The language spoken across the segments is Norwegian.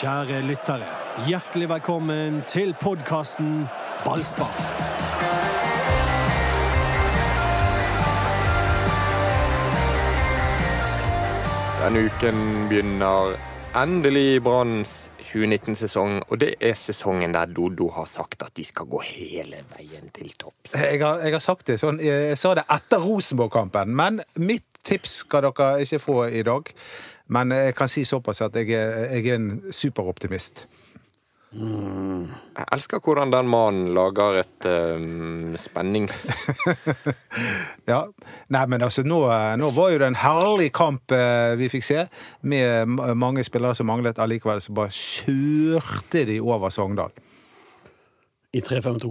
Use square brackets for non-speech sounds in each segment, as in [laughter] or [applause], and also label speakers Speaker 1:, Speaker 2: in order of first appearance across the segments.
Speaker 1: Kjære lyttere, hjertelig velkommen til podkasten Ballspar.
Speaker 2: Denne uken begynner endelig Branns 2019-sesong, og det er sesongen der Dodo har sagt at de skal gå hele veien til topps.
Speaker 3: Jeg har, jeg har sagt det sånn, jeg sa det etter Rosenborg-kampen, men mitt tips skal dere ikke få i dag. Men jeg kan si såpass at jeg er, jeg er en superoptimist.
Speaker 2: Jeg elsker hvordan den mannen lager et eh, spennings...
Speaker 3: Ja. Nei, men altså, nå, nå var jo det en herlig kamp eh, vi fikk se, med ma- mange spillere som manglet. Allikevel så bare kjørte de over Sogndal.
Speaker 4: i 3-5-2.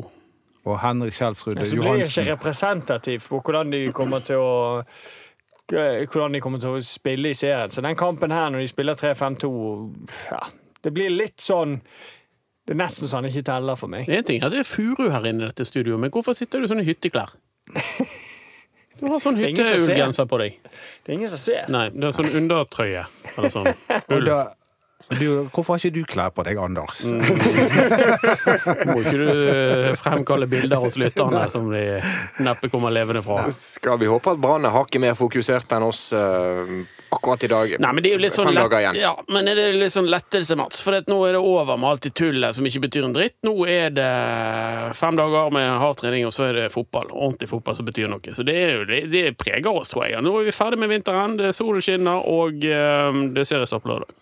Speaker 3: Og Henrik Kjelsrud
Speaker 5: Så blir jeg
Speaker 3: Eh,
Speaker 5: ikke
Speaker 3: Johansen
Speaker 5: representativ på hvordan de kommer til å eh, hvordan de kommer til å spille i serien. Så den kampen her, når de spiller 3-5-2 ja, Det blir litt sånn Det er nesten så han ikke teller for meg.
Speaker 4: Det er en ting at det er furu her inne i dette studioet, men hvorfor sitter du sånn i
Speaker 5: [laughs]
Speaker 4: hytteklær? Du har sånn
Speaker 5: er ingen som ser.
Speaker 4: hytteullgenser på deg.
Speaker 5: Det er ingen som ser.
Speaker 4: Nei, du har sånn undertrøye. Eller
Speaker 5: [laughs]
Speaker 4: sånn.
Speaker 3: Og
Speaker 4: Ull.
Speaker 3: da, du, hvorfor har ikke du klær på deg, Anders?
Speaker 4: Må ikke du fremkalle bilder hos lytterne som de neppe kommer levende fra.
Speaker 2: Skal vi håpe at Brann er hakket mer fokusert enn oss eh, akkurat i dag?
Speaker 4: Nei, men det er jo litt sånn
Speaker 2: Fem
Speaker 4: lett,
Speaker 2: dager igjen.
Speaker 4: ja, men er det litt sånn lettelse, Mats. For at nå er det over med alt det tullet som ikke betyr en dritt. Nå er det fem dager med hard trening, og så er det fotball. Ordentlig fotball som betyr noe. Så det, er jo, det, det preger oss, tror jeg. Nå er vi ferdig med vinteren, det er solen skinner, og eh, det er seriestopp lørdag.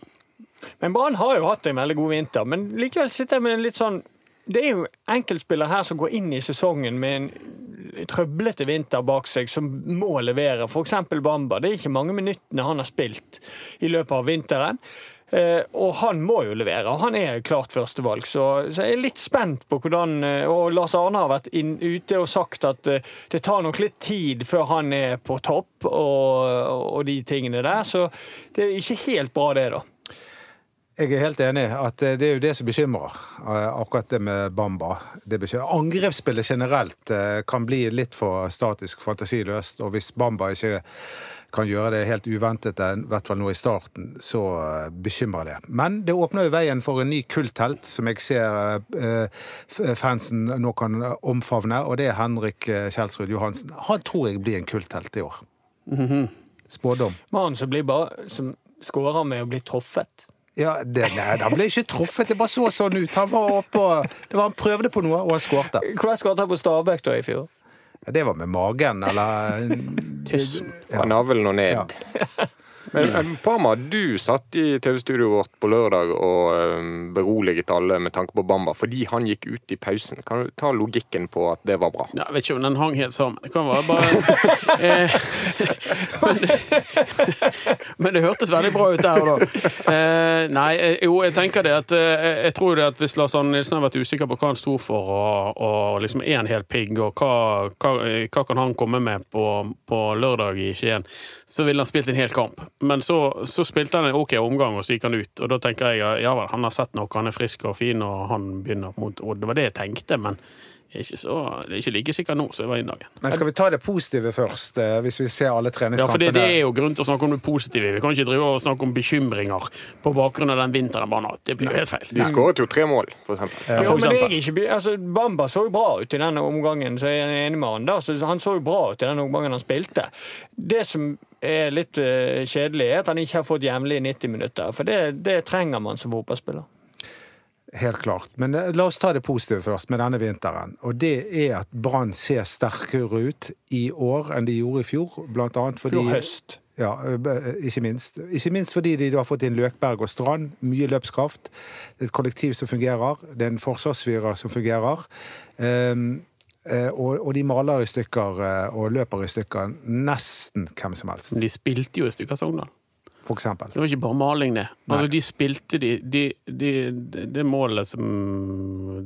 Speaker 5: Men Brann har jo hatt en veldig god vinter. Men likevel sitter jeg med en litt sånn Det er jo enkeltspillere her som går inn i sesongen med en trøblete vinter bak seg, som må levere. F.eks. Bamba. Det er ikke mange minuttene han har spilt i løpet av vinteren. Eh, og han må jo levere, og han er klart førstevalg. Så, så jeg er litt spent på hvordan eh, Og Lars Arne har vært inn, ute og sagt at eh, det tar nok litt tid før han er på topp og, og de tingene der. Så det er ikke helt bra, det, da.
Speaker 3: Jeg er helt enig at eh, det er jo det som bekymrer, eh, akkurat det med Bamba. Det bekymrer. Angrepsspillet generelt eh, kan bli litt for statisk, fantasiløst, og hvis Bamba ikke kan gjøre det helt uventet, eh, i hvert fall nå i starten, så eh, bekymrer det. Men det åpner jo veien for en ny kulthelt, som jeg ser eh, f- fansen nå kan omfavne, og det er Henrik eh, Kjelsrud Johansen. Han tror jeg blir en kulthelt i år. Spådom.
Speaker 5: Mannen som blir bare Som skårer med å bli truffet.
Speaker 3: Ja, det, nei, han ble ikke truffet. Det bare så sånn ut. Han var oppe og det var, Han prøvde på noe, og han skårte.
Speaker 5: Hva skåret han på Stabæk da i fjor?
Speaker 3: Ja, Det var med magen, eller
Speaker 2: Fra navlen og ned. [laughs] Men eh, Parma, du satt i TV-studioet vårt på lørdag og eh, beroliget alle med tanke på Bamba, fordi han gikk ut i pausen. Kan du ta logikken på at det var bra?
Speaker 4: Ja, Jeg vet ikke om den hang helt sammen. Det kan være bare [laughs] eh, men, men det hørtes veldig bra ut der og da. Eh, nei, eh, jo, jeg tenker det at eh, Jeg tror det at hvis Lars Arne Nilsen har vært usikker på hva han sto for, og, og liksom er en hel pigg, og hva, hva, eh, hva kan han komme med på, på lørdag i Skien, så ville han spilt en hel kamp. Men så, så spilte han en OK omgang, og så gikk han ut. Og da tenker jeg ja, ja vel, han har sett noe, han er frisk og fin, og han begynner mot Odd. Det var det jeg tenkte, men jeg er ikke, så, jeg er ikke like sikker nå som jeg var i dag.
Speaker 3: Men skal vi ta det positive først, eh, hvis vi ser alle
Speaker 4: Ja, for det,
Speaker 3: treningskampene?
Speaker 4: det er jo grunn til å snakke om det positive. Vi kan ikke drive og snakke om bekymringer på bakgrunn av den vinteren. Bare nå. Det blir jo helt feil.
Speaker 2: De skåret jo tre mål, for eksempel.
Speaker 4: for
Speaker 5: Ja, men jeg
Speaker 4: eksempel.
Speaker 5: er ikke, be- altså, Bamba så jo bra ut i denne omgangen, så jeg er enig med han da. Så han så jo bra ut i den omgangen han spilte. Det som er litt eh, kjedelig, er at han ikke har fått jevnlig 90 minutter. For det, det trenger man som fotballspiller.
Speaker 3: Helt klart. Men eh, la oss ta det positive først, med denne vinteren. Og det er at Brann ser sterkere ut i år enn de gjorde i fjor, blant annet fordi
Speaker 5: Fjor høst.
Speaker 3: Ja, ø, b- ø, ikke minst. Ikke minst fordi de da har fått inn Løkberg og Strand. Mye løpskraft. Et kollektiv som fungerer. Det er en forsvarsfyrer som fungerer. Ehm, eh, og, og de maler i stykker eh, og løper i stykker nesten hvem som helst,
Speaker 4: De spilte jo et stykke av Sogndal.
Speaker 3: for eksempel.
Speaker 4: Det var ikke bare maling, det. Altså, de spilte de, de, de, de Det målet som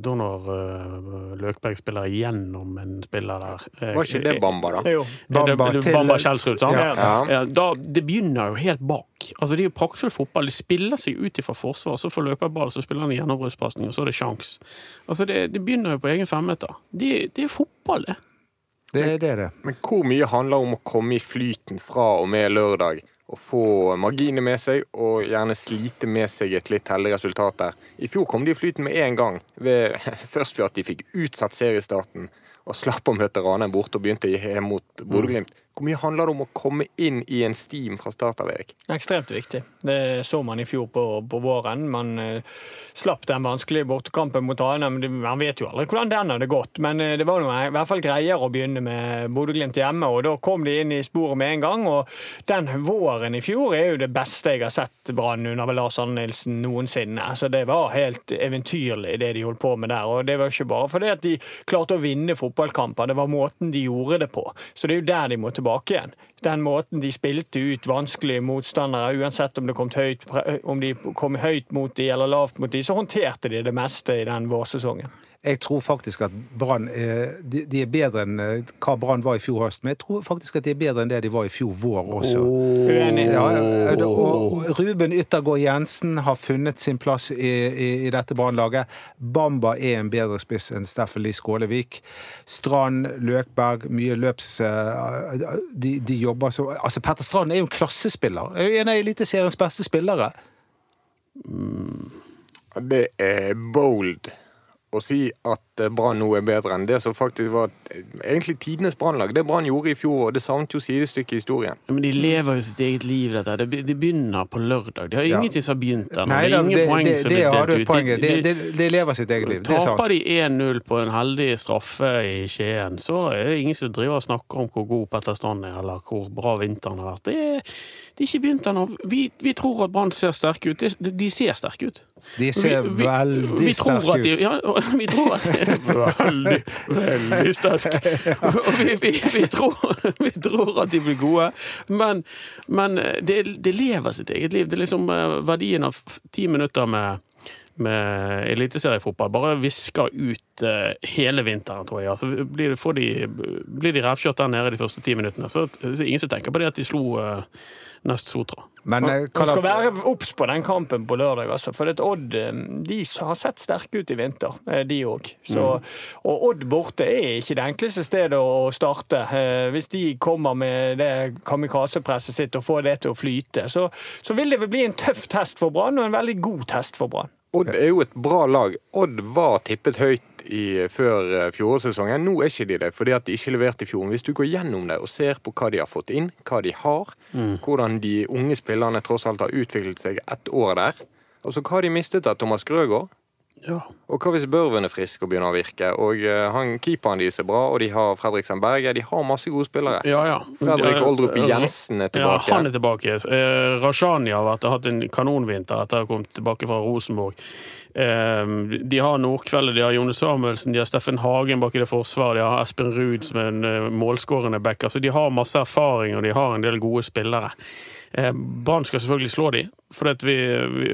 Speaker 4: Donor eh, Løkberg spiller igjennom en spiller der eh,
Speaker 2: Var ikke det Bamba, da?
Speaker 5: Jo.
Speaker 3: Bamba
Speaker 4: Bamba, det,
Speaker 3: til-
Speaker 4: Bamba Kjelsrud, sant?
Speaker 3: Ja.
Speaker 2: Ja.
Speaker 4: Ja, da, det begynner jo helt bak. Altså, det er jo praktfull fotball. De spiller seg ut ifra forsvar, så får løper ball, så spiller han en gjennombruddspasning, og så er det sjans. Altså, det, det begynner jo på egen femmeter. Det, det er fotball, det.
Speaker 3: Det, det er det.
Speaker 2: Men hvor mye handler om å komme i flyten fra og med lørdag? å få marginene med seg, og gjerne slite med seg et litt heldig resultat der. I fjor kom de i flyten med én gang, ved, [laughs] først ved at de fikk utsatt seriestarten og slapp å møte Ranheim borte og begynte hjemme mot Bodø-Glimt. Hvor mye handler det om å komme inn i en steam fra start av, Erik?
Speaker 5: Ekstremt viktig. Det så man i fjor på, på våren. Man eh, slapp den vanskelige bortekampen mot Ranheim. Det- Man vet jo aldri hvordan den hadde gått, men eh, det var noe, i hvert fall greiere å begynne med Bodø-Glimt hjemme. og Da kom de inn i sporet med en gang. og Den våren i fjor er jo det beste jeg har sett Brann under Lars Arne Nilsen noensinne. Så Altså, Det var helt eventyrlig, det de holdt på med der. og Det var ikke bare fordi at de klarte å vinne fotballkamper, det var måten de gjorde det på. Så det er jo der de må tilbake igjen den måten de spilte ut vanskelige motstandere, uansett om, det kom høyt, om de kom høyt mot de eller lavt mot de, så håndterte de det meste i den vårsesongen.
Speaker 3: Jeg tror faktisk at Brann eh, de, de er bedre enn eh, hva Brann var i fjor høst, men jeg tror faktisk at de er bedre enn det de var i fjor vår også.
Speaker 5: Uenig.
Speaker 3: Ja, ja, og- og Ruben Yttergård Jensen har funnet sin plass i, i, i dette Brann-laget. Bamba er en bedre spiss enn Steffen Lie Skålevik. Strand, Løkberg, mye løps... eh, De, de jobber så Altså, Petter Strand er jo en klassespiller. Er jo En av Eliteseriens beste spillere.
Speaker 2: Det er bold å si at eh, Brann nå er bedre enn det som faktisk var egentlig tidenes Brannlag. Det Brann gjorde i fjor, og det savnet jo sidestykket i historien.
Speaker 4: Men de lever jo sitt eget liv, dette. her. Det be- De begynner på lørdag. De har
Speaker 3: Ja.
Speaker 4: ingenting som har begynt ennå.
Speaker 3: Nei
Speaker 4: Det
Speaker 3: da,
Speaker 4: er ingen
Speaker 3: det,
Speaker 4: poeng
Speaker 3: det,
Speaker 4: som
Speaker 3: det
Speaker 4: er
Speaker 3: har
Speaker 4: delt
Speaker 3: du
Speaker 4: ut.
Speaker 3: et poeng i. Det,
Speaker 4: De- de-
Speaker 3: det, det lever sitt eget liv. Det er sant.
Speaker 4: Taper de 1-0 på en heldig straffe i Skien, så er det ingen som driver og snakker om hvor god Petter Strand er, eller hvor bra vinteren har vært. Det er, det er ikke vinteren. og Vi, vi tror at Brann ser sterke ut. Det- De ser sterke ut.
Speaker 3: De ser veldig
Speaker 4: vi tror
Speaker 3: sterke
Speaker 4: at de,
Speaker 3: ut.
Speaker 4: Ja, og [laughs] vi tror at de er veldig, veldig
Speaker 3: [laughs]
Speaker 4: sterke. Og vi, vi, vi, tror, vi tror at de blir gode, men, men det, det lever sitt eget liv. Det er liksom eh, verdien av ti minutter med med eliteseriefotball bare visker ut eh, hele vinteren, tror jeg. Altså, blir, det, får de, blir de revkjørt der nede de første ti minuttene, så, så er det ingen som tenker på det at de slo eh, Nest Sotra.
Speaker 3: Men eh,
Speaker 5: Man skal
Speaker 3: Kalat-
Speaker 5: være obs på den kampen på lørdag, altså. For det er Odd eh, de har sett sterke ut i vinter, eh, de òg.
Speaker 3: Mm.
Speaker 5: Og Odd borte er ikke det enkleste stedet å starte. Eh, Hvis de kommer med det kamikazepresset sitt og får det til å flyte, så, så vil det vel bli en tøff test for Brann, og en veldig god test for Brann.
Speaker 2: Odd er jo et bra lag. Odd var tippet høyt i, før eh, fjorårssesongen. Nå er ikke de det, fordi at de ikke leverte i fjor. Men Hvis du går gjennom det og ser på hva de har fått inn, hva de har, hvordan de unge spillerne tross alt har utviklet seg ett år der Altså hva har de mistet av Thomas Grøgaard?
Speaker 4: Ja.
Speaker 2: Og hva hvis Børven er frisk og begynner å virke? Og eh, han, Keeperen deres er bra, og de har Fredriksen Berge. De har masse gode spillere.
Speaker 4: Ja, ja.
Speaker 2: Fredrik Oldrup
Speaker 4: Ja,
Speaker 2: Jensen er tilbake.
Speaker 4: Ja, han er tilbake. Eh, Rashani har vært, hatt en kanonvinter etter å ha kommet tilbake fra Rosenborg. Eh, De har Nordkveldet, de har Jone Samuelsen, de har Steffen Hagen bak i det forsvaret, de har Espen Ruud som er en eh, målskårende back. Altså, de har masse erfaring, og de har en del gode spillere. Eh, Brann skal selvfølgelig slå de, for at vi, vi,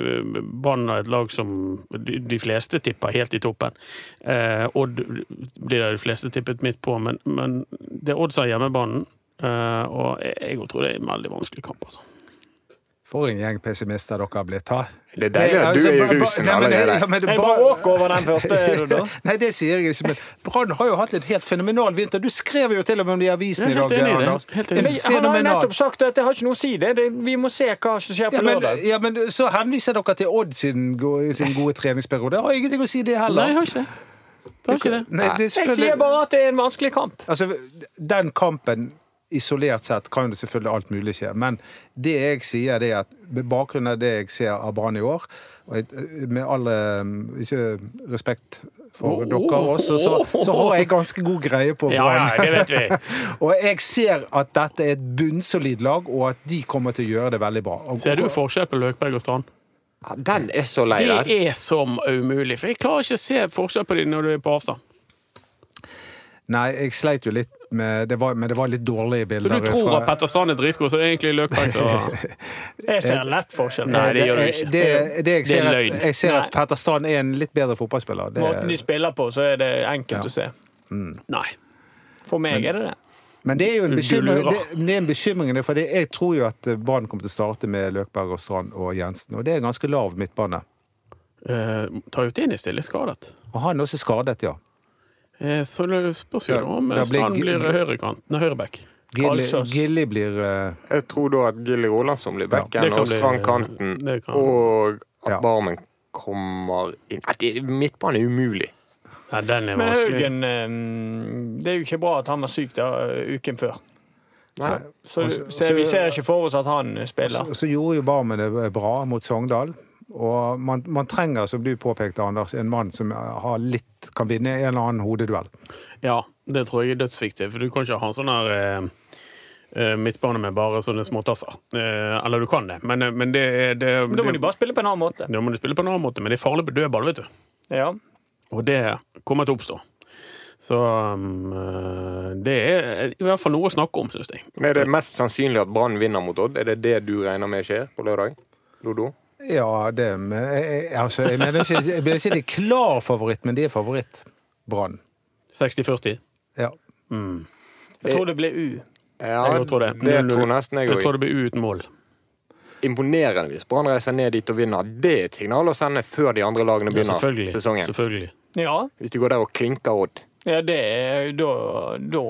Speaker 4: Brann er et lag som de, de fleste tipper helt i toppen. Eh, Odd blir det de fleste tippet midt på, men, men det er Odd som har hjemmebanen. Eh, og jeg, jeg tror det er en veldig vanskelig kamp, altså.
Speaker 3: For en gjeng pessimister dere har blitt, ha.
Speaker 2: Det er deilig at du
Speaker 3: altså,
Speaker 2: er i
Speaker 3: ba- ba-
Speaker 2: rusen
Speaker 3: nei, men det-
Speaker 2: allerede.
Speaker 3: ja, men det-
Speaker 5: Jeg bare
Speaker 3: Brann-
Speaker 5: åker over den
Speaker 3: [laughs]
Speaker 5: første runden.
Speaker 3: Nei, det sier jeg ikke, men Brann har jo hatt en helt fenomenal vinter. Du skrev jo til og med om det i avisen i
Speaker 4: Jeg
Speaker 3: dag,
Speaker 4: er helt enig i det.
Speaker 3: Anders.
Speaker 4: Helt
Speaker 3: En
Speaker 4: enig.
Speaker 5: Men han har jo
Speaker 3: fenomenal-
Speaker 5: nettopp sagt at det har ikke noe å si. Det. Det, vi må se hva som skjer
Speaker 3: ja
Speaker 5: på
Speaker 3: men,
Speaker 5: lørdag.
Speaker 3: ja, men så henviser dere til Odd sin, go- sin gode treningsperiode. Det har ingenting å si, det
Speaker 4: Nei,
Speaker 3: heller.
Speaker 4: jeg har ikke det. Det har ikke det.
Speaker 3: Nei, det er
Speaker 5: Jeg
Speaker 3: selvfølgelig-
Speaker 5: sier bare at det er en vanskelig kamp.
Speaker 3: Altså, den kampen isolert sett kan jo selvfølgelig alt mulig skje, men det jeg sier det er at med bakgrunn av det jeg ser av Brann i år, og jeg- med all eh, ikke respekt for dere også, så, så har jeg ganske god greie på
Speaker 4: Oh, Ja, ja,
Speaker 3: Brann.
Speaker 4: det vet vi.
Speaker 3: og jeg ser at dette er et bunnsolid lag, og at de kommer til å gjøre det veldig bra. Og,
Speaker 4: Ser du forskjell på Løkberg og Strand?
Speaker 2: Ja, den er så lei der.
Speaker 4: Det er som umulig, for jeg klarer ikke å se forskjell på dem når du er på avstand.
Speaker 3: Nei, jeg sleit jo litt med det, var, men det var litt dårlige
Speaker 4: Så
Speaker 3: bilder.
Speaker 4: du tror
Speaker 3: fra-
Speaker 4: at Petter Strand er dritgod, så det er egentlig Løkberg som [laughs]
Speaker 5: Jeg ser lett forskjell.
Speaker 4: Nei, det gjør du
Speaker 3: Det,
Speaker 4: ikke.
Speaker 3: det, jeg
Speaker 4: Det er
Speaker 3: ser,
Speaker 4: løgn.
Speaker 3: at, jeg ser
Speaker 5: Nei.
Speaker 3: at Petter Strand er en litt bedre fotballspiller. Det,
Speaker 5: Måten de spiller på, så er det enkelt å se.
Speaker 4: Nei.
Speaker 5: For meg er det det.
Speaker 3: Men det er jo en bekymring,
Speaker 4: lurer. Eh, tar jo Tennis stille skadet.
Speaker 3: Og han er også skadet, ja.
Speaker 4: Eh, så det spørs jo
Speaker 3: Ja,
Speaker 4: om eh,
Speaker 3: da blir
Speaker 4: Strand
Speaker 3: G-
Speaker 4: blir høyrekant, nei, høyreback.
Speaker 3: Gilly,
Speaker 5: Kalsås.
Speaker 3: Gilly blir eh,
Speaker 2: Jeg tror da at Gilly Rolandsson blir
Speaker 4: det
Speaker 2: backen
Speaker 4: kan
Speaker 2: og
Speaker 4: bli-
Speaker 2: Strand kanten,
Speaker 4: det kan-
Speaker 2: og at
Speaker 3: Ja.
Speaker 2: Barmen kommer inn Nei, det- Midtbanen er umulig.
Speaker 4: Nei, den er
Speaker 5: Men
Speaker 4: vanskelig.
Speaker 5: Haugen eh, Det er jo ikke bra at han var syk da, eh, uken før.
Speaker 2: Nei.
Speaker 5: Så,
Speaker 3: Og så-
Speaker 5: så vi ser ikke for oss at han eh, spiller.
Speaker 3: Så, så gjorde jo Barmen det bra mot Sogndal. Og man, man trenger, som du påpekte, Anders, en mann som har litt, kan vinne en eller annen hodeduell.
Speaker 4: Ja, det tror jeg er dødsviktig, for du kan ikke ha en sånn her eh, eh, midtbane med bare sånne småtasser. Eh, eller du kan det, men, eh, men det er det,
Speaker 5: Da må de bare spille på en annen måte.
Speaker 4: Da må du spille på en annen måte, men det er farlig på dødball, vet du.
Speaker 5: Ja.
Speaker 4: Og det kommer til å oppstå. Så um, eh, det er i hvert fall noe å snakke om, syns jeg.
Speaker 2: Men er det mest sannsynlig at Brann vinner mot Odd? Er det det du regner med skjer på lørdag? Lodo?
Speaker 3: Ja, det men, jeg, jeg- altså, jeg mener ikke, jeg mener ikke de er klar favoritt, men de er favoritt. Brann.
Speaker 4: 60-40.
Speaker 3: Ja. Eh,
Speaker 5: Jeg tror det blir U.
Speaker 2: Ja,
Speaker 4: jeg tror det.
Speaker 2: det
Speaker 4: 0-0.
Speaker 2: tror nesten jeg
Speaker 4: Jeg
Speaker 2: òg.
Speaker 4: tror det blir uten mål.
Speaker 2: Imponerende hvis Brann reiser ned dit og vinner. Det er et signal å sende før de andre lagene
Speaker 4: Ja,
Speaker 2: begynner
Speaker 4: selvfølgelig.
Speaker 2: sesongen.
Speaker 4: selvfølgelig.
Speaker 5: Ja,
Speaker 2: Hvis de går der og klinker Odd.
Speaker 5: ja det er Da, da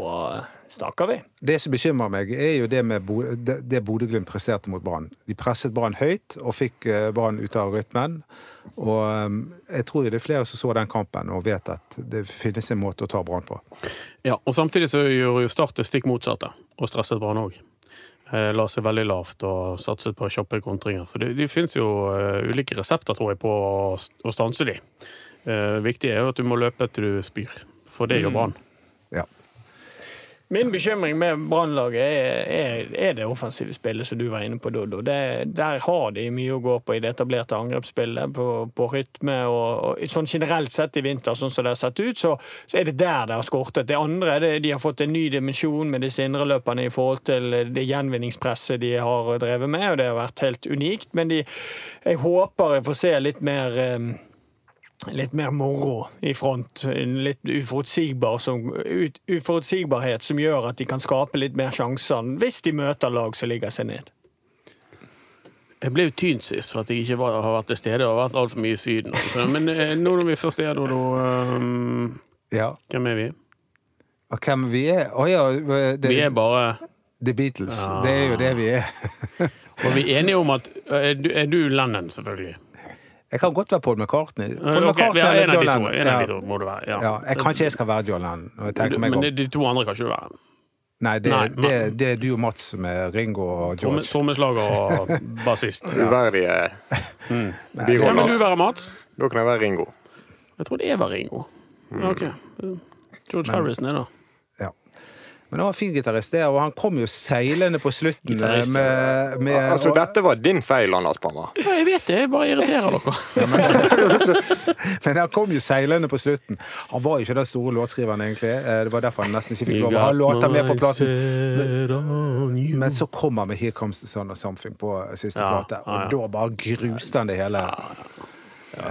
Speaker 5: snakker vi.
Speaker 3: Det som bekymrer meg, er jo det med Bo- det det Bodø-Glimt presterte mot Brann. De presset Brann høyt og fikk eh, Brann ut av rytmen. Og eh, jeg tror jo det er flere som så den kampen og vet at det finnes en måte å ta Brann på.
Speaker 4: Ja, og samtidig så gjorde jo Start det stikk motsatte, og stresset Brann òg. Eh, La seg veldig lavt og satset på kjappe kontringer. Så det, det finnes jo eh, ulike resepter, tror jeg, på å, å stanse de. Eh, viktig er jo at du må løpe til du spyr, for det gjør Brann.
Speaker 3: Ja.
Speaker 5: Min bekymring med Brannlaget er, er, er det offensive spillet som du var inne på, Doddo. Det, der har de mye å gå på i det etablerte angrepsspillet, på, på rytme og, og sånn generelt sett i vinter, sånn som det har sett ut, så, så er det der det har skortet. Det andre det, de har fått en ny dimensjon med disse indreløperne i forhold til det gjenvinningspresset de har drevet med, og det har vært helt unikt. Men de, jeg håper jeg får se litt mer eh, litt mer moro i front. En Litt uforutsigbar som, ut, uforutsigbarhet som gjør at de kan skape litt mer sjanser hvis de møter lag som ligger seg ned.
Speaker 4: Jeg ble jo tynt sist for at jeg ikke var, har vært til stede og har vært altfor mye i Syden. [laughs] Så, men eh, nå når vi først er der, da um,
Speaker 3: ja.
Speaker 4: Hvem er vi?
Speaker 3: Og hvem vi er? Å ja, det,
Speaker 4: Vi er Ah. bare
Speaker 3: The Beatles. Det er jo det vi er.
Speaker 4: Og vi er enige om at eh, Er du, er du Lennon, selvfølgelig? Eh,
Speaker 3: Jeg kan godt være Paul McCartney. Paul
Speaker 4: Ok, vi har
Speaker 3: eller
Speaker 4: en av
Speaker 3: John
Speaker 4: de to.
Speaker 3: Lennon.
Speaker 4: En av
Speaker 3: Ja.
Speaker 4: de to må du være.
Speaker 3: Ja,
Speaker 4: Ja.
Speaker 3: jeg Kanskje jeg skal være John Lennon. når jeg tenker meg
Speaker 4: Men
Speaker 3: om.
Speaker 4: de, de to andre kan ikke du være.
Speaker 3: Nei, det,
Speaker 4: Nei,
Speaker 3: det, det er du og Mats med Ringo og
Speaker 4: Tromme-
Speaker 3: George.
Speaker 4: Trommeslager [laughs] og bassist.
Speaker 2: Uverdige
Speaker 4: Hvem vil du
Speaker 2: biroller.
Speaker 4: være, Mats?
Speaker 2: Da kan jeg være Ringo.
Speaker 4: Jeg trodde jeg var Ringo. Ok. George Harrison er da.
Speaker 3: Ja. Men han var en fin gitarist, det, og han kom jo seilende på slutten med,
Speaker 4: Gitarist, ja.
Speaker 3: med,
Speaker 2: Altså,
Speaker 3: og-
Speaker 2: dette var din feil, Anders Bammer.
Speaker 4: Ja, jeg vet det, jeg bare [laughs] irriterer dere.
Speaker 3: Men han kom jo seilende på slutten. Han var jo ikke den store låtskriveren, egentlig. Eh, Det var derfor han nesten ikke fikk lov å ha låter med på platen. Men så kom han med 'Here Comes the Sun og Something' på eh, siste
Speaker 4: Ja,
Speaker 3: plate, og
Speaker 4: ja, ja.
Speaker 3: da bare gruste han det hele.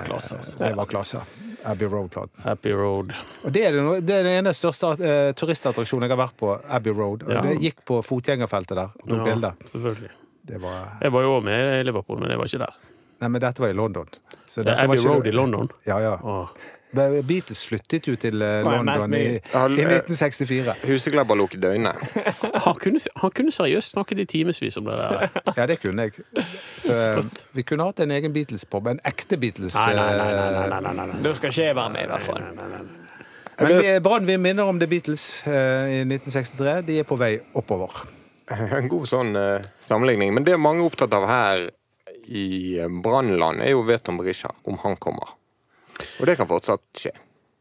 Speaker 4: klasse, altså.
Speaker 3: Det var klasse. Abbey Road-platen.
Speaker 4: Happy Road.
Speaker 3: Og det er, det, no- det er den ene største eh, turistattraksjonen jeg har vært på, Abbey Road. Og
Speaker 4: Ja.
Speaker 3: det gikk på fotgjengerfeltet der og tok
Speaker 4: Ja,
Speaker 3: bilder.
Speaker 4: selvfølgelig.
Speaker 3: Det var
Speaker 4: Jeg var jo også med i Liverpool, men jeg var ikke der.
Speaker 3: Nei, men dette var i London. Så
Speaker 4: Det
Speaker 3: dette
Speaker 4: er
Speaker 3: var
Speaker 4: Abbey
Speaker 3: ikke-
Speaker 4: Road i London.
Speaker 3: Ja, ja.
Speaker 4: Åh.
Speaker 3: Men Beatles flyttet jo til eh,
Speaker 5: Var jeg
Speaker 3: London i,
Speaker 5: med?
Speaker 3: i 1964.
Speaker 2: Huseklebber lukket øynene.
Speaker 4: Han kunne, han kunne seriøst snakket i timevis om det der.
Speaker 3: Ja, det kunne jeg.
Speaker 4: [laughs]
Speaker 3: Så, eh, vi kunne hatt en egen Beatles-pop. En ekte Beatles.
Speaker 4: Nei, nei, nei.
Speaker 3: eh,
Speaker 4: nei, nei, nei, nei, nei.
Speaker 5: Da skal ikke jeg være med, i hvert fall.
Speaker 3: Men vi- Brann vi minner om The Beatles eh, i 1963. De er på vei oppover.
Speaker 2: [laughs] En god sånn eh, sammenligning. Men det mange er opptatt av her i eh, Brannland, er jo Veton Berisha, om han kommer. Og det kan fortsatt skje.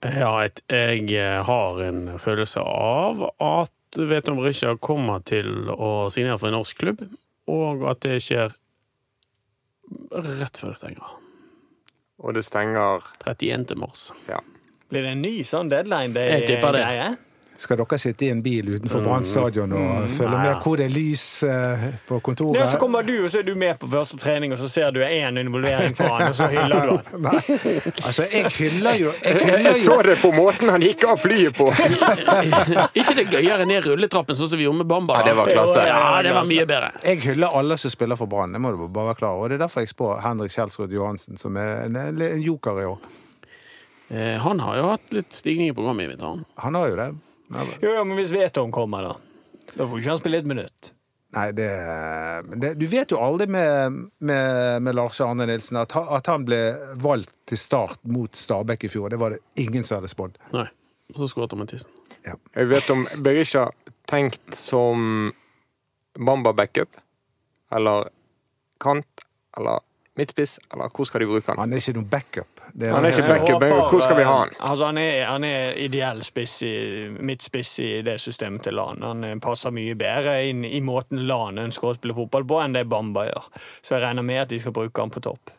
Speaker 4: Ja, et, jeg eh, har en følelse av at Veton Berisha kommer til å signere for en norsk klubb, og at det skjer rett før det stenger.
Speaker 2: Og det stenger
Speaker 4: 31.
Speaker 2: [laughs]
Speaker 4: mars.
Speaker 2: Ja.
Speaker 5: Blir det en ny sånn deadline
Speaker 4: Jeg tipper det.
Speaker 5: day-greie?
Speaker 3: Skal dere sitte i en bil utenfor Brann stadion og
Speaker 4: Mm.
Speaker 3: følge med hvor det er lys eh, på
Speaker 5: Ja,
Speaker 3: kontoret?
Speaker 5: så kommer du, og så er du med på første trening, og så ser du én involvering fra han, og så hyller du
Speaker 4: [laughs]
Speaker 5: han.
Speaker 3: Nei. Altså, jeg hyller jo Jeg hyller
Speaker 2: Jeg
Speaker 3: jo
Speaker 2: så det på måten han gikk av flyet på!
Speaker 4: Ikke det gøyere ned rulletrappen, sånn som vi gjorde med Bamba?
Speaker 2: Ja, det var klasse.
Speaker 4: Ja, det var mye bedre.
Speaker 3: Jeg hyller alle som spiller for Brann, det må du bare være klar over. Og Det er derfor jeg spår Henrik Kjelsrud Johansen, som er en, en joker i år.
Speaker 4: Eh, Han har jo hatt litt stigning i programmet, vet han.
Speaker 3: Han har jo det.
Speaker 5: Jo, jo, men hvis Veton kommer, da? Da får ikke han spille et minutt.
Speaker 3: Nei, det, det Du vet jo aldri med, med, med Lars Arne Nilsen at, ha- at han ble valgt til start mot Stabæk i fjor. Det var det ingen som hadde spådd.
Speaker 4: Nei. Og så skåret han med tissen.
Speaker 3: Ja.
Speaker 2: Jeg vet om Berisha tenkt som Bamba backup, eller kant, eller midtspiss, eller hvor skal de bruke han?
Speaker 3: Han er ikke noen backup. Det
Speaker 2: Han er ikke
Speaker 3: helt-
Speaker 2: backup. men hvor skal vi ha han?
Speaker 5: Altså, han, er, han er ideell spiss i, midtspiss i det systemet til LAN. Han eh, passer mye bedre inn i måten LAN ønsker å spille fotball på, enn det Bamba gjør. Så jeg regner med at de skal bruke han på topp.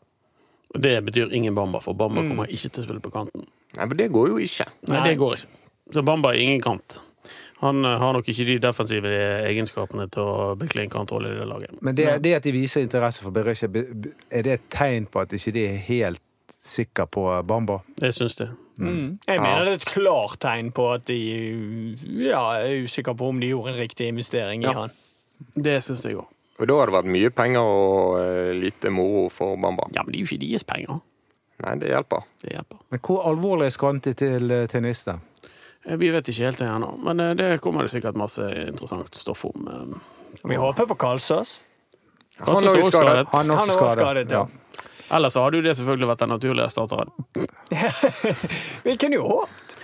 Speaker 4: Og det betyr ingen Bamba, for Bamba
Speaker 2: Mm.
Speaker 4: kommer ikke til å spille på kanten.
Speaker 2: Nei, men det går jo ikke.
Speaker 4: Nei,
Speaker 5: Nei.
Speaker 4: det går ikke. Så Bamba er ingen kant. Han eh, har nok ikke de defensive egenskapene til å bekle en kantrolle i det laget.
Speaker 3: Men det, det at de viser interesse for Berisha, be- be- er det et tegn på at ikke de er helt sikre på Bamba?
Speaker 4: Jeg syns det.
Speaker 5: Jeg mener det er et klart tegn på at de ja, er usikre på om de gjorde en riktig investering i
Speaker 4: Ja.
Speaker 5: han.
Speaker 4: Det syns jeg òg.
Speaker 2: Og da har det vært mye penger og eh, lite moro for Bamba.
Speaker 4: Ja, men det er jo ikke deres penger.
Speaker 2: Nei, det hjelper.
Speaker 4: Det hjelper.
Speaker 3: Men hvor alvorlig er skrante til eh, tennister?
Speaker 4: Eh, Vi vet ikke helt det ennå, men eh, det kommer det sikkert masse interessant stoff om. eh.
Speaker 5: Vi håper på Kalsås.
Speaker 2: Han er
Speaker 4: Kanskje
Speaker 2: også
Speaker 4: så
Speaker 2: skadet.
Speaker 3: Han er også
Speaker 5: Han er også
Speaker 3: skadet.
Speaker 5: skadet, ja.
Speaker 4: Ellers så hadde jo det selvfølgelig vært den naturlige erstatteren.
Speaker 5: Vi kunne jo håpet.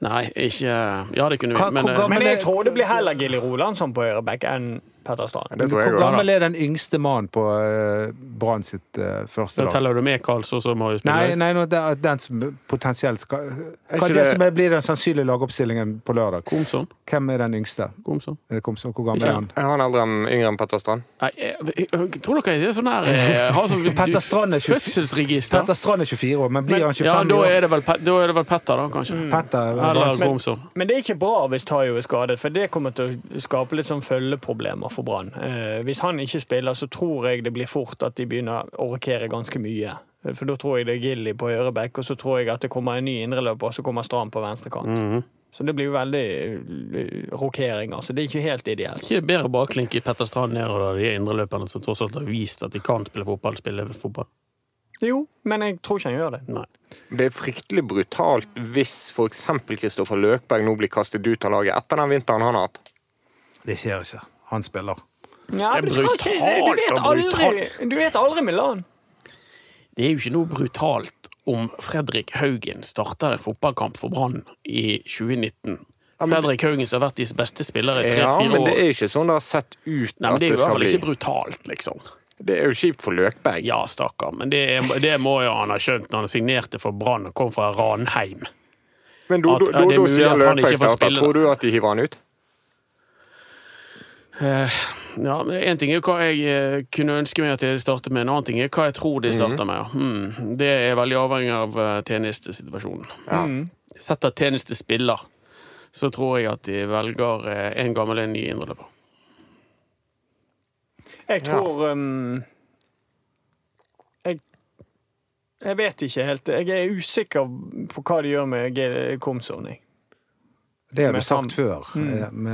Speaker 4: Nei, ikke Ja, det kunne vi,
Speaker 3: Hva-
Speaker 4: men
Speaker 3: hvor
Speaker 4: eh,
Speaker 3: gammel-
Speaker 5: Men jeg
Speaker 3: det-
Speaker 5: tror det blir heller Gilly Roland som på høyreback enn Petter Strand.
Speaker 2: Det tror jeg
Speaker 3: Hvor
Speaker 2: også.
Speaker 3: gammel er den yngste mannen på eh, Brann sitt eh, første
Speaker 4: da
Speaker 3: lag?
Speaker 4: teller du med Karlsson som har jo spilt
Speaker 3: Nei, nei nå, det er den som potensielt skal Hva
Speaker 2: ikke
Speaker 3: er det
Speaker 2: det-
Speaker 3: som er- blir den sannsynlige lagoppstillingen på lørdag?
Speaker 4: Komsom.
Speaker 3: Hvem er den yngste?
Speaker 4: Komsom.
Speaker 3: Er det Komsom? Hvor gammel er han?
Speaker 2: Er han eldre enn yngre enn Petter Strand?
Speaker 4: Nei, jeg, jeg, jeg tror dere det er sånn her [laughs] eh, har sånn,
Speaker 3: Petter Strand er tjuef-
Speaker 4: Fødselsregister.
Speaker 3: Petter Strand er 24 år, men blir han 25
Speaker 4: ja, da
Speaker 3: i år?
Speaker 4: er, det vel, Pe- da er det vel Petter, da, kanskje.
Speaker 2: Mm.
Speaker 3: Petter
Speaker 4: Eller
Speaker 3: Brann-
Speaker 4: Komsom.
Speaker 5: Men det er ikke bra hvis Tayo er skadet, for det kommer til å skape litt sånn følgeproblemer for Brann. Eh, hvis han ikke spiller, så tror jeg det blir fort at de begynner å rokere ganske mye. Eh, For da tror jeg det er Gilly på høyreback, og så tror jeg at det kommer en ny indreløper, og så kommer Strand på venstre kant. Så det blir jo veldig eh, rokering, altså. Det er ikke helt ideelt.
Speaker 4: Ikke det bedre baklink i Petter Strand nedover da, de indreløperne som tross alt har vist at de kan spille fotball, spille fotball?
Speaker 5: Jo, men jeg tror ikke han gjør det.
Speaker 4: Nei.
Speaker 2: Det er fryktelig brutalt hvis f.eks. Kristoffer Løkberg nå blir kastet ut av laget etter den vinteren han har hatt.
Speaker 3: Det skjer ikke. Han spiller.
Speaker 4: Det
Speaker 5: Ja,
Speaker 4: er
Speaker 5: men du skal ikke-
Speaker 4: brutalt
Speaker 5: du vet
Speaker 4: og
Speaker 5: aldri-
Speaker 4: brutalt.
Speaker 5: Du vet aldri Milan.
Speaker 4: Det er jo ikke noe brutalt om Fredrik Haugen starter en fotballkamp for Brann i 2019. Fredrik Haugen som har vært deres beste spiller i
Speaker 2: Ja,
Speaker 4: tre-fire
Speaker 2: men det
Speaker 4: år.
Speaker 2: er ikke sånn det har sett ut
Speaker 4: Nei, men
Speaker 2: at det
Speaker 4: det er jo i hvert
Speaker 2: skal
Speaker 4: fall
Speaker 2: bli.
Speaker 4: ikke brutalt, liksom.
Speaker 2: Det er jo kjipt for Løkberg.
Speaker 4: Ja, stakkar, men det, er- det må jo han ha skjønt når han signerte for Brann og kom fra Ranheim.
Speaker 2: Men da
Speaker 4: At-
Speaker 2: da-
Speaker 4: er
Speaker 2: da-
Speaker 4: det
Speaker 2: da
Speaker 4: mulig
Speaker 2: sier
Speaker 4: at han
Speaker 2: Løkberg
Speaker 4: ikke får
Speaker 2: starter.
Speaker 4: spille?
Speaker 2: Tror du at de hiver han ut?
Speaker 4: Eh, Ja, men En ting er jo hva jeg eh, kunne ønske meg at de startet med, en annen ting er hva jeg tror
Speaker 3: Mhm.
Speaker 4: de starter med. ja. Mm. Det er veldig avhengig av eh, tjenestesituasjonen.
Speaker 2: Ja.
Speaker 4: Sett at tjeneste spiller, så tror jeg at de velger eh, en gammel en ny indreløper.
Speaker 5: Jeg tror um, jeg, jeg vet ikke helt. Jeg er usikker på hva de gjør med G- Komson. jeg.
Speaker 3: Det har du
Speaker 5: Men han-
Speaker 3: sagt før. eh, Med at du
Speaker 4: Mm.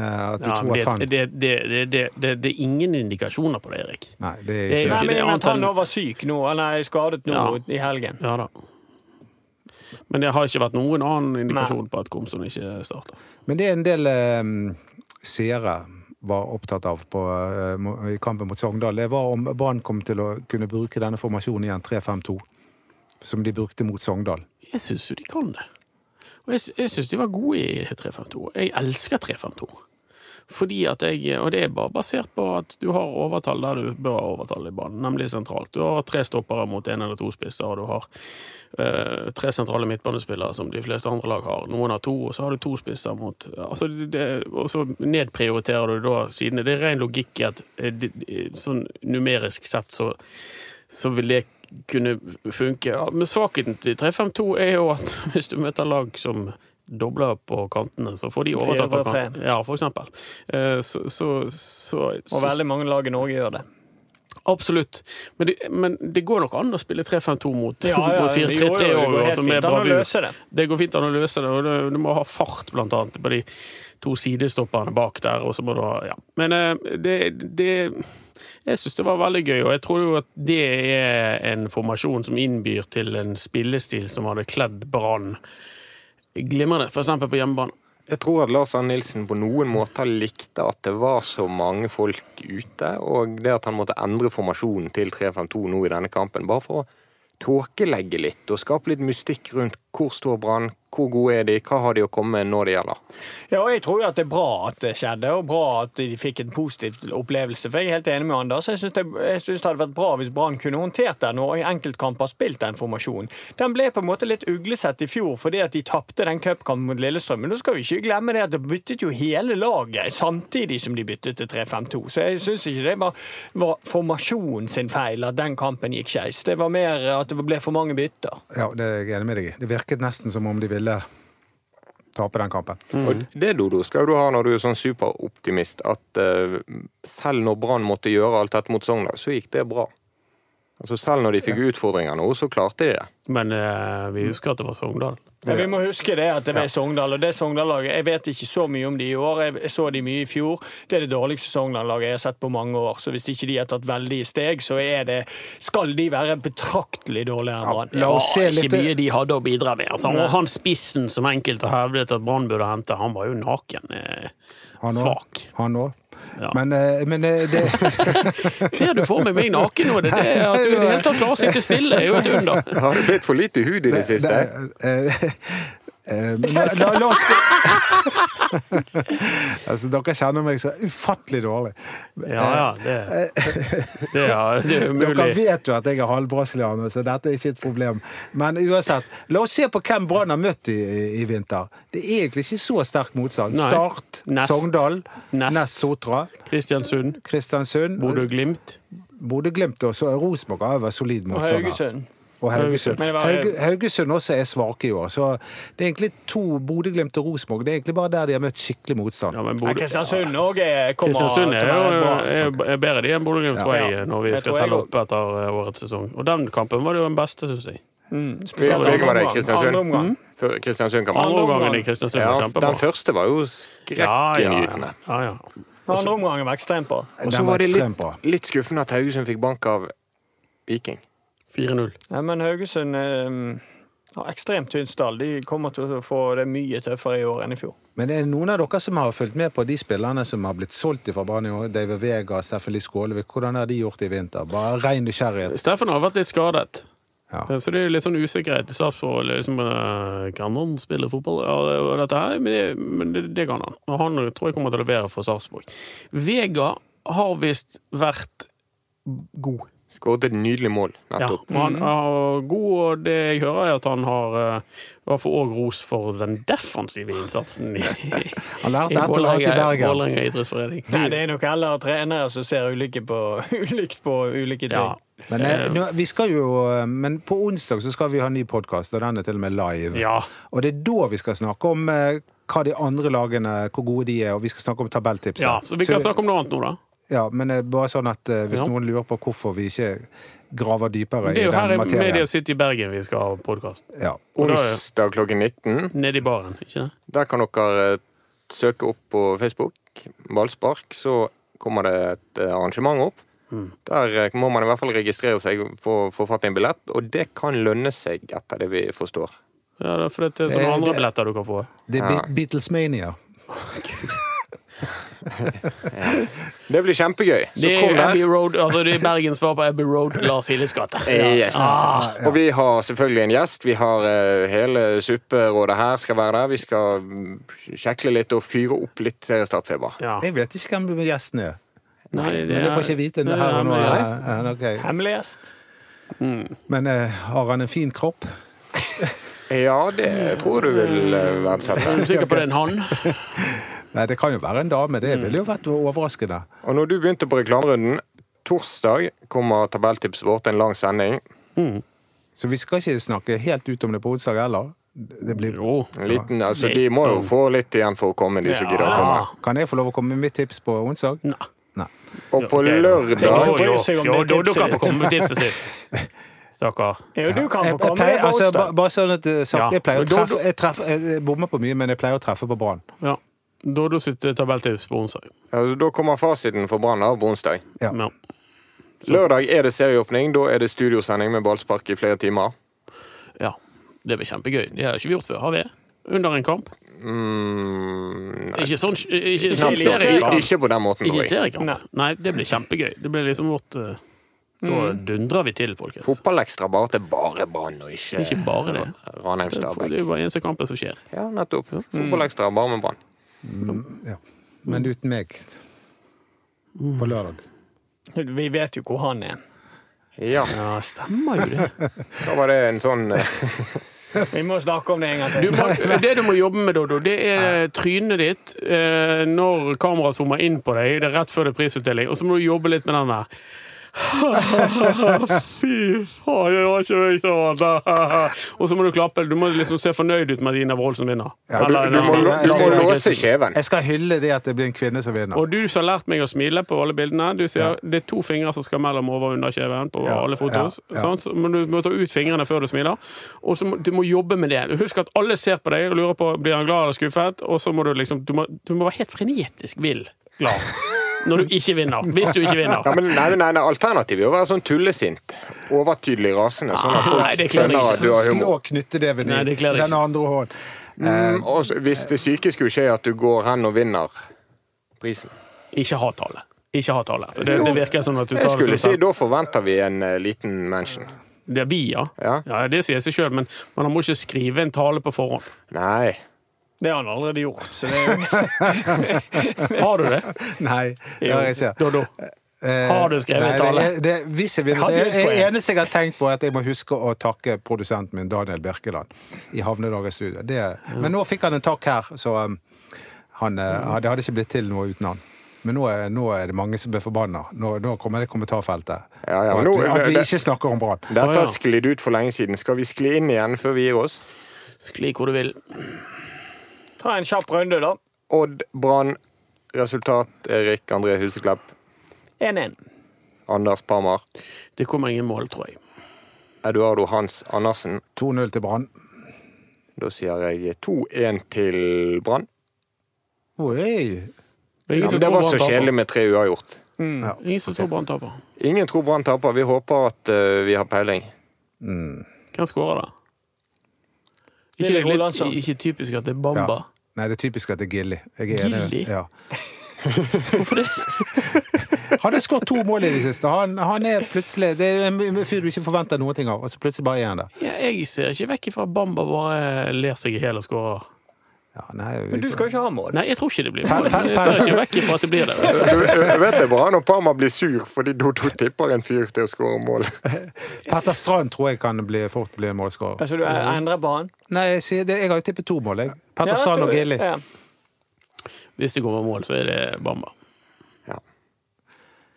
Speaker 4: Ja,
Speaker 3: tror at
Speaker 4: det,
Speaker 3: han
Speaker 4: det, det, det, det, det, det er ingen indikasjoner på det, Erik.
Speaker 3: Nei, det er
Speaker 4: Det er
Speaker 3: ikke
Speaker 5: Nei,
Speaker 4: ikke
Speaker 5: men
Speaker 4: det,
Speaker 5: men
Speaker 4: annet
Speaker 5: han
Speaker 4: enn-
Speaker 5: nå var syk nå, eller skadet nå
Speaker 4: Ja.
Speaker 5: i helgen.
Speaker 4: Ja da. Men det har ikke vært noen annen indikasjon på at Komson ikke starter.
Speaker 3: Men det er en del eh, seere var opptatt av på, eh, mo- i kampen mot Sogndal, det var om Brann kom til å kunne bruke denne formasjonen igjen, 3-5-2, som de brukte mot Sogndal.
Speaker 4: Jeg syns jo de kan det. Og jeg, jeg syns de var gode i 352. Jeg elsker 352. Fordi at jeg, og det er bare basert på at du har overtall der du bør ha overtall i banen, nemlig sentralt. Du har tre stoppere mot én eller to spisser, og du har eh, tre sentrale midtbanespillere som de fleste andre lag har. Noen har to, og så har du to spisser mot altså det, Og så nedprioriterer du da sidene. Det er ren logikk i at eh, de- de- sånn numerisk sett så så vil det kunne funke. Ja, men svakheten til 352 er jo at [laughs] hvis du møter lag som dobler på kantene, så får de overtatt på
Speaker 5: Fire og tre.
Speaker 4: kantene. Ja, for eksempel. Eh, Så, så, så, så
Speaker 5: Og veldig mange lag i Norge [laughs] gjør det.
Speaker 4: Absolutt. Men det, men det går nok an å spille 3-5-2 mot
Speaker 5: Ja, ja,
Speaker 4: mot
Speaker 5: jo, jo,
Speaker 4: 4-3-3
Speaker 5: det går
Speaker 4: òg,
Speaker 5: helt
Speaker 4: som er altså,
Speaker 5: fint an å
Speaker 4: bravur.
Speaker 5: løse det.
Speaker 4: Det går fint an å løse det, og du, du må ha fart blant annet på de to sidestopperne bak der. Og så må du ha, ja. Men eh, det, det Jeg syns det var veldig gøy, og jeg tror jo at det er en formasjon som innbyr til en spillestil som hadde kledd Brann glimrende, f.eks. på hjemmebane.
Speaker 2: Jeg tror at Lars Arne Nilsen på noen måter likte at det var så mange folk ute, og det at han måtte endre formasjonen til 3-5-2 nå i denne kampen, bare for å tåkelegge litt og skape litt mystikk rundt hvor står Brann, hvor gode er de, hva har de å komme med når det gjelder?
Speaker 5: Ja, og Jeg tror jo at det er bra at det skjedde, og bra at de fikk en positiv opplevelse. For Jeg er helt enig med Anders. Jeg syns det, jeg synes det hadde vært bra hvis Brann kunne håndtert den og i enkeltkamper spilt den formasjonen. Den ble på en måte litt uglesett i fjor fordi at de tapte den cupkampen mot Lillestrøm. Men da skal vi ikke glemme det at det byttet jo hele laget samtidig som de byttet til 3-5-2. Så jeg syns ikke det var, var formasjonen sin feil at den kampen gikk skeis. Det var mer at det ble for mange bytter.
Speaker 3: Ja, det er jeg enig med deg i. Det virket nesten som om de ville tape den kampen.
Speaker 4: Mm.
Speaker 2: Og det, Dodo, skal du ha når du er sånn superoptimist, at eh, selv når Brann måtte gjøre alt dette mot Sogndal, så gikk det bra. Altså Selv når de fikk utfordringer nå, så klarte de det.
Speaker 4: Men eh, vi husker at det var Sogndal.
Speaker 5: Men vi må huske det at det er Sogndal, og det Sogndal-laget Jeg vet ikke så mye om de i år, jeg så de mye i fjor. Det er det dårligste Sogndal-laget jeg har sett på mange år, så hvis ikke de har tatt veldige steg, så er det Skal de være betraktelig dårligere enn Brann?
Speaker 3: la oss se
Speaker 4: Det var
Speaker 3: litt-
Speaker 4: ikke mye de hadde å bidra med. Altså, og han spissen som enkelte hevdet at Brann burde hente, han var jo naken eh,
Speaker 3: Han også.
Speaker 4: svak.
Speaker 3: Han òg.
Speaker 4: Ja.
Speaker 3: Men, eh, men eh, det
Speaker 4: Ser du for meg meg naken nå? Det, det, at du i det hele tatt klarer å sitte stille, er jo et under.
Speaker 2: [laughs] Har det blitt for lite hud i det
Speaker 3: det-
Speaker 2: siste?
Speaker 3: eh, eh, men La la- la oss [laughs] altså, Dere kjenner meg så ufattelig dårlig.
Speaker 4: Ja, ja, det, det, er- det er
Speaker 3: Dere
Speaker 4: umulig.
Speaker 3: vet jo at jeg er halvbrasilianer, så dette er ikke et problem. Men uansett, la oss se på hvem Brann har møtt i, i vinter. Det er egentlig ikke så sterk motstand.
Speaker 4: Nei.
Speaker 3: Start,
Speaker 4: Nest.
Speaker 3: Sogndal,
Speaker 4: Nest.
Speaker 3: Nest, Sotra,
Speaker 4: Kristiansund,
Speaker 3: Kristiansund,
Speaker 4: Bodø-Glimt.
Speaker 3: Bodø-Glimt og så Rosenborg har jo vært solid
Speaker 5: Og
Speaker 3: motstander.
Speaker 5: Haugesund.
Speaker 3: Og Haugesund.
Speaker 5: Men det var-
Speaker 3: Hauge, Haugesund også er svake i år, så det er egentlig to Bodø-Glimt og Rosenborg. Det er egentlig bare der de har møtt skikkelig motstand.
Speaker 4: Ja, men
Speaker 5: Nei,
Speaker 4: Bodø-
Speaker 5: Kristiansund òg kommer til å
Speaker 4: Kristiansund er
Speaker 5: være
Speaker 4: jo
Speaker 5: bra.
Speaker 4: er- er bedre de enn Bodø-Glimt, tror jeg, når vi
Speaker 5: Jeg
Speaker 4: skal
Speaker 5: tror jeg
Speaker 4: telle
Speaker 5: også.
Speaker 4: opp etter eh, årets sesong. Og den kampen var det jo den beste, syns jeg.
Speaker 5: Mm,
Speaker 2: Hvilken
Speaker 5: spesielt
Speaker 2: omgang var det i
Speaker 5: andre omgang. Andre
Speaker 2: Kristiansund?
Speaker 5: omgang.
Speaker 2: Før- Kristiansund-kampen?
Speaker 4: Andre
Speaker 5: Andre
Speaker 4: omgangen i
Speaker 5: omgang.
Speaker 4: Kristiansund
Speaker 2: Ja,
Speaker 4: var
Speaker 2: den
Speaker 4: kjempebra.
Speaker 2: første var jo
Speaker 4: Ja, ja,
Speaker 2: skrekkinngytende.
Speaker 4: ja, ja.
Speaker 5: Andre omgangen var ekstremt bra.
Speaker 2: Og så
Speaker 3: Den
Speaker 2: var
Speaker 3: var
Speaker 2: det
Speaker 3: ekstremt
Speaker 2: litt,
Speaker 3: bra.
Speaker 2: litt skuffende at Haugesund fikk bank av Viking.
Speaker 4: 4-0.
Speaker 5: Ja, men Haugesund eh, har ekstremt tynn stall. De kommer til å få det mye tøffere i år enn i fjor.
Speaker 3: Men er det noen av dere som har fulgt med på de spillerne som har blitt solgt fra Brann i år? David Vega, Steffen Lie Skålevik. Hvordan har de gjort det i vinter? Bare ren nysgjerrighet.
Speaker 4: Steffen har vært litt skadet.
Speaker 3: Ja.
Speaker 4: Så det er jo litt sånn usikkerhet i statsforholdet. Liksom, eh, kan han spille fotball? Ja, og dette her, men det, men det, det kan han. Og han eh, tror jeg kommer til å levere for Sarpsborg. Vega har visst vært god.
Speaker 2: Skåret et nydelig mål
Speaker 4: Ja,
Speaker 2: nettopp.
Speaker 4: og
Speaker 3: Mhm.
Speaker 4: han er god, og det jeg hører, er at han har eh, i hvert fall òg ros for den defensive
Speaker 3: [laughs]
Speaker 4: innsatsen i,
Speaker 3: Han lærte
Speaker 4: i
Speaker 3: et eller annet i
Speaker 4: Vålerenga
Speaker 3: Bergen.
Speaker 4: Vålerenga idrettsforening.
Speaker 5: Nei, det er nok heller trenere som ser ulike på, [laughs] ulikt på ulike ting.
Speaker 4: Ja.
Speaker 3: Men, eh, nå, vi skal jo, eh, men på onsdag så skal vi ha en ny podkast, og den er til og med live.
Speaker 4: Ja.
Speaker 3: Og det er da vi skal snakke om eh, hva de andre lagene, hvor gode de er, og vi skal snakke om tabelltipset.
Speaker 4: ja, så vi kan snakke om noe annet nå, da.
Speaker 3: Ja, men eh, bare sånn at eh, hvis
Speaker 4: Ja.
Speaker 3: noen lurer på hvorfor vi ikke graver dypere
Speaker 4: Det er
Speaker 3: i
Speaker 4: jo her i
Speaker 3: den
Speaker 4: Media
Speaker 3: materien.
Speaker 4: City i Bergen vi skal ha podkast.
Speaker 3: Ja.
Speaker 4: Og da-
Speaker 2: Onsdag klokken 19.
Speaker 4: Nede i baren, ikke det?
Speaker 2: Der kan dere eh, søke opp på Facebook, Ballspark, så kommer det et eh, arrangement opp.
Speaker 4: Mm.
Speaker 2: Der eh, må man i hvert fall registrere seg for å få fatt i en billett, og det kan lønne seg, etter det vi forstår.
Speaker 4: Ja, det er fordi det er
Speaker 3: Eh,
Speaker 4: sånne andre
Speaker 3: det-
Speaker 4: billetter du kan få.
Speaker 3: Det er
Speaker 2: Ja.
Speaker 3: Be- Beatlesmania.
Speaker 2: Det blir kjempegøy. Så
Speaker 4: Det
Speaker 2: kom
Speaker 4: er
Speaker 2: der.
Speaker 4: Abbey Road, altså det er Bergens svar på Abbey Road, Lars Hilles gate.
Speaker 2: Eh, Yes.
Speaker 4: Ah,
Speaker 2: Og vi har selvfølgelig en gjest. Vi har eh, hele supperådet her skal være der. Vi skal mm, kjekle litt og fyre opp litt seriestartfeber.
Speaker 4: Ja.
Speaker 3: Jeg vet ikke hvem gjesten er.
Speaker 4: Nei,
Speaker 3: Men det får ikke vite det
Speaker 4: Nei,
Speaker 3: her og nå.
Speaker 4: men det er
Speaker 3: Ja, ja, ok.
Speaker 5: Hemmelig gjest.
Speaker 3: Men eh, har han en fin kropp?
Speaker 2: Ja, det tror du vil eh,
Speaker 4: Er
Speaker 2: verdsette.
Speaker 4: du sikker på det er en han?
Speaker 3: Nei, det kan jo være en dame. Det ville jo vært overraskende.
Speaker 2: Og når du begynte på reklamerunden, torsdag kommer tabelltipset vårt, en lang sending.
Speaker 3: Så vi skal ikke snakke helt ut om det på onsdag heller. Det blir...
Speaker 4: Jo.
Speaker 2: En liten, altså,
Speaker 4: Litt
Speaker 2: de må jo
Speaker 4: sånn.
Speaker 2: få litt igjen for å komme, de som gidder å komme.
Speaker 4: Ja.
Speaker 3: Kan jeg få lov å komme med mitt tips på onsdag?
Speaker 4: Nei.
Speaker 3: Nei.
Speaker 2: Og på
Speaker 4: Ok, da.
Speaker 2: lørdag
Speaker 4: Jo, jo,
Speaker 5: seg om
Speaker 4: jo,
Speaker 5: det
Speaker 4: jo, du
Speaker 5: tipset
Speaker 4: kan få
Speaker 5: ditt.
Speaker 4: komme med tipset sitt. Stakkar.
Speaker 5: Jo, du kan
Speaker 3: Jeg, jeg
Speaker 5: få komme
Speaker 3: pleier,
Speaker 5: med på
Speaker 3: altså, ba-
Speaker 5: onsdag.
Speaker 3: bare sånn at eh, sagt,
Speaker 4: Ja.
Speaker 3: jeg pleier å
Speaker 4: Men da-
Speaker 3: treffe Jeg, treffer, jeg bommer på mye, men jeg pleier å treffe på Brann.
Speaker 4: Ja. Dodo sitt eh, tabelltips på onsdag.
Speaker 2: Altså, Da kommer fasiten for Brann her på onsdag.
Speaker 3: Ja.
Speaker 4: Ja.
Speaker 2: Lørdag er det serieåpning. Da er det studiosending med ballspark i flere timer.
Speaker 4: ja. Det blir kjempegøy. Det har ikke vi gjort før, har vi det? under en kamp?
Speaker 2: Mm, nei.
Speaker 4: Ikke sånn Ikke,
Speaker 2: Knapt
Speaker 4: sånn
Speaker 5: Ikke
Speaker 2: nok.
Speaker 5: seriekamp.
Speaker 4: seriekamp.
Speaker 2: Ikke på den måten.
Speaker 4: Ikke
Speaker 2: Roy.
Speaker 4: seriekamp.
Speaker 5: Nei.
Speaker 4: Nei, det blir kjempegøy. Det blir liksom vårt eh, Da dundrer vi til, folkens.
Speaker 2: Fotballekstra bare til bare Brann, og ikke,
Speaker 4: Ikke bare det.
Speaker 2: Ranheim
Speaker 4: Det er
Speaker 2: Stabæk.
Speaker 4: det er jo bare eneste kampen som skjer.
Speaker 2: Ja, nettopp.
Speaker 4: mm.
Speaker 2: Fotballekstra bare med Brann.
Speaker 3: Ja.
Speaker 4: Mm.
Speaker 3: Men uten meg på lørdag.
Speaker 5: Vi vet jo hvor han er.
Speaker 2: Ja,
Speaker 4: Ja, stemmer jo det.
Speaker 2: da var det en sånn
Speaker 4: [laughs]
Speaker 2: eh,
Speaker 5: Vi må snakke om det en gang
Speaker 4: Du
Speaker 5: til.
Speaker 4: må, det du må jobbe med, Dodo, det er trynet ditt eh, når kameraet zoomer inn på deg. Det er rett før det er prisutdeling. Og så må du jobbe litt med den der. [laughs] Fy faen, det var ikke meg som vant! [laughs] Og så må du klappe. Du må liksom se fornøyd ut med at Ina Wroldsen vinner.
Speaker 3: Ja,
Speaker 2: Du,
Speaker 4: Eller-
Speaker 2: du, må,
Speaker 4: eller-
Speaker 2: du må
Speaker 4: eller-
Speaker 2: låse kjeven.
Speaker 3: Jeg skal hylle det at det blir en kvinne som vinner.
Speaker 4: Og du som har lært meg å smile på alle bildene. Du sier det er to fingre som skal mellom over- og underkjeven på
Speaker 3: Ja,
Speaker 4: alle fotos.
Speaker 3: ja, ja.
Speaker 4: sant? Så må du må ta ut fingrene før du smiler. Og så må du må jobbe med det. Husk at alle ser på deg og lurer på blir han glad eller skuffet. Og så må du liksom Du må, du må være helt frenetisk vill glad når du ikke vinner. Hvis du ikke vinner.
Speaker 2: Ja, men nei, nei, nei, Alternativet er å være sånn tullesint. Overtydelig rasende. Sånn at
Speaker 4: Ah, Nei, det
Speaker 2: folk
Speaker 4: kler meg
Speaker 2: skjønner
Speaker 4: ikke.
Speaker 2: at du har humor.
Speaker 3: Slå knyttneven i
Speaker 4: Nei, det kler deg
Speaker 3: den
Speaker 4: ikke.
Speaker 3: andre hånden.
Speaker 2: Mm, og så- hvis det syke skulle skje at du går hen og vinner prisen
Speaker 4: Ikke hat alle. Ikke hat alle. Det, det virker som at du
Speaker 2: Jeg
Speaker 4: tar
Speaker 2: skulle
Speaker 4: det
Speaker 2: si
Speaker 4: som
Speaker 2: da forventer vi en eh, liten mention.
Speaker 4: Det er vi, ja.
Speaker 2: Ja.
Speaker 4: ja. Det sier seg sjøl, men man må ikke skrive en tale på forhånd.
Speaker 2: Nei.
Speaker 5: Det har han allerede gjort. Så det er jo [laughs]
Speaker 4: Har du det?
Speaker 3: [laughs] Nei, det har jeg ikke.
Speaker 4: Dodo.
Speaker 3: Eh,
Speaker 4: Har du skrevet
Speaker 3: nei,
Speaker 4: tale?
Speaker 3: Det, er- det, hvis jeg vil,
Speaker 5: Hadde
Speaker 3: jeg,
Speaker 5: du et
Speaker 3: jeg,
Speaker 5: poeng?
Speaker 3: eneste jeg har tenkt på, er at jeg må huske å takke produsenten min, Daniel Birkeland, i Havnedagens studio. Det,
Speaker 4: Mm.
Speaker 3: Men nå fikk han en takk her, så um, han, eh, det hadde ikke blitt til noe uten han. Men nå er, nå er det mange som blir forbanna. Nå, nå kommer det kommentarfeltet.
Speaker 2: Ja, ja,
Speaker 3: Og at,
Speaker 2: nå-
Speaker 3: vi- at vi
Speaker 2: det-
Speaker 3: ikke snakker om Brann.
Speaker 2: Dette
Speaker 4: ja.
Speaker 2: har sklidd ut for lenge siden. Skal vi skli inn igjen før vi gir oss?
Speaker 4: Skli hvor du vil.
Speaker 5: Ta en kjapp runde, da.
Speaker 2: Odd, Brann, resultat Erik André Huseklepp,
Speaker 5: 1-1.
Speaker 2: Anders Parmar,
Speaker 4: Det kommer ingen mål, tror jeg.
Speaker 2: Eduardo Hans Andersen.
Speaker 3: 2-0 til Brann.
Speaker 2: Da sier jeg 2-1 til Brann.
Speaker 3: Oi.
Speaker 4: Det
Speaker 2: Ja,
Speaker 4: er ingen som
Speaker 2: men det
Speaker 4: tror
Speaker 2: var så
Speaker 4: Brann taper.
Speaker 2: kjedelig med tre uavgjort.
Speaker 4: Ingen som tror Brann taper.
Speaker 2: Ingen tror Brann taper. Vi håper at eh, vi har
Speaker 4: [laughs]
Speaker 2: peiling.
Speaker 4: Hvem skårer da?
Speaker 5: Lille
Speaker 4: Ikke, det er litt,
Speaker 5: Rolandsson.
Speaker 4: ikke typisk at det er
Speaker 3: Ja.
Speaker 4: Bamba.
Speaker 3: Nei, det er typisk at det er Gilly. Jeg er enig.
Speaker 4: Gilly?
Speaker 3: Ja.
Speaker 4: [laughs] Hvorfor det?
Speaker 3: Han har skåret to mål i det siste. Han, han er plutselig Det er en fyr du ikke forventer noen ting av, og så plutselig bare er han der.
Speaker 4: Ja, jeg ser ikke vekk ifra at Bamba bare ler seg i hjel og skårer.
Speaker 3: Ja, nei, vi
Speaker 5: Men du
Speaker 3: får-
Speaker 5: skal ikke ha mål.
Speaker 4: Nei, jeg tror ikke det blir mål. Jeg ser ikke vekk ifra at det blir det.
Speaker 2: Du, jeg vet det er bra når Parmar blir sur fordi Dodo tipper en fyr til å skåre mål.
Speaker 3: Petter Strand tror jeg kan bli, fort bli en målskårer.
Speaker 5: Altså, du endrer på han?
Speaker 3: Nei, jeg, sier det, jeg har jo tippet to mål, jeg. Petter
Speaker 5: Ja,
Speaker 3: Strand og
Speaker 5: du-
Speaker 3: Gilly.
Speaker 5: ja.
Speaker 4: Hvis det kommer mål, så er det Bamba.
Speaker 2: Ja.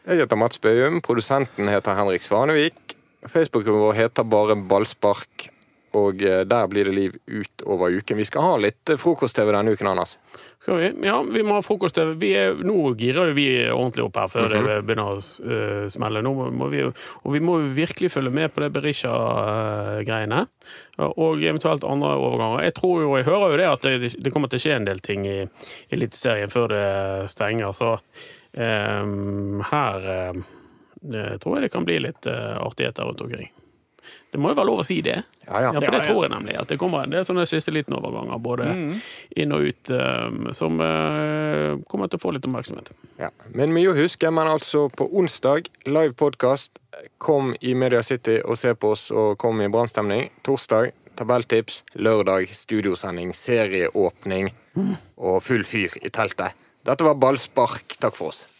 Speaker 2: Jeg heter Mats Bøhum. Produsenten heter Henrik Svanevik. Facebooken vår heter bare Ballspark. Og eh, der blir det liv utover uken. Vi skal ha litt eh, frokost-TV denne uken, Anders.
Speaker 4: Skal vi? Ja, vi må ha frokost. Vi er, nå girer jo vi ordentlig opp her før det begynner å eh, smelle. Nå må- må vi, jo- og vi må jo virkelig følge med på det Berisha-greiene. og eventuelt andre overganger. Jeg tror jo, jeg hører jo det at det, det kommer til å skje en del ting i Eliteserien før det stenger, så eh, her eh, tror jeg det kan bli litt eh, artigheter rundt omkring. Det må jo være lov å si det?
Speaker 2: Ja, ja.
Speaker 4: Ja, for det
Speaker 5: Ja, ja. Mm.
Speaker 4: tror jeg nemlig. At det kommer en del sånne siste liten overganger, både inn og ut, eh, som eh, kommer til å få litt oppmerksomhet.
Speaker 2: Ja. Men mye å huske, men altså på onsdag, live podkast. Kom i Media City og se på oss, og kom i brannstemning. Torsdag, tabelltips. Lørdag, studiosending, Mm. serieåpning og full fyr i teltet. Dette var Ballspark. Takk for oss.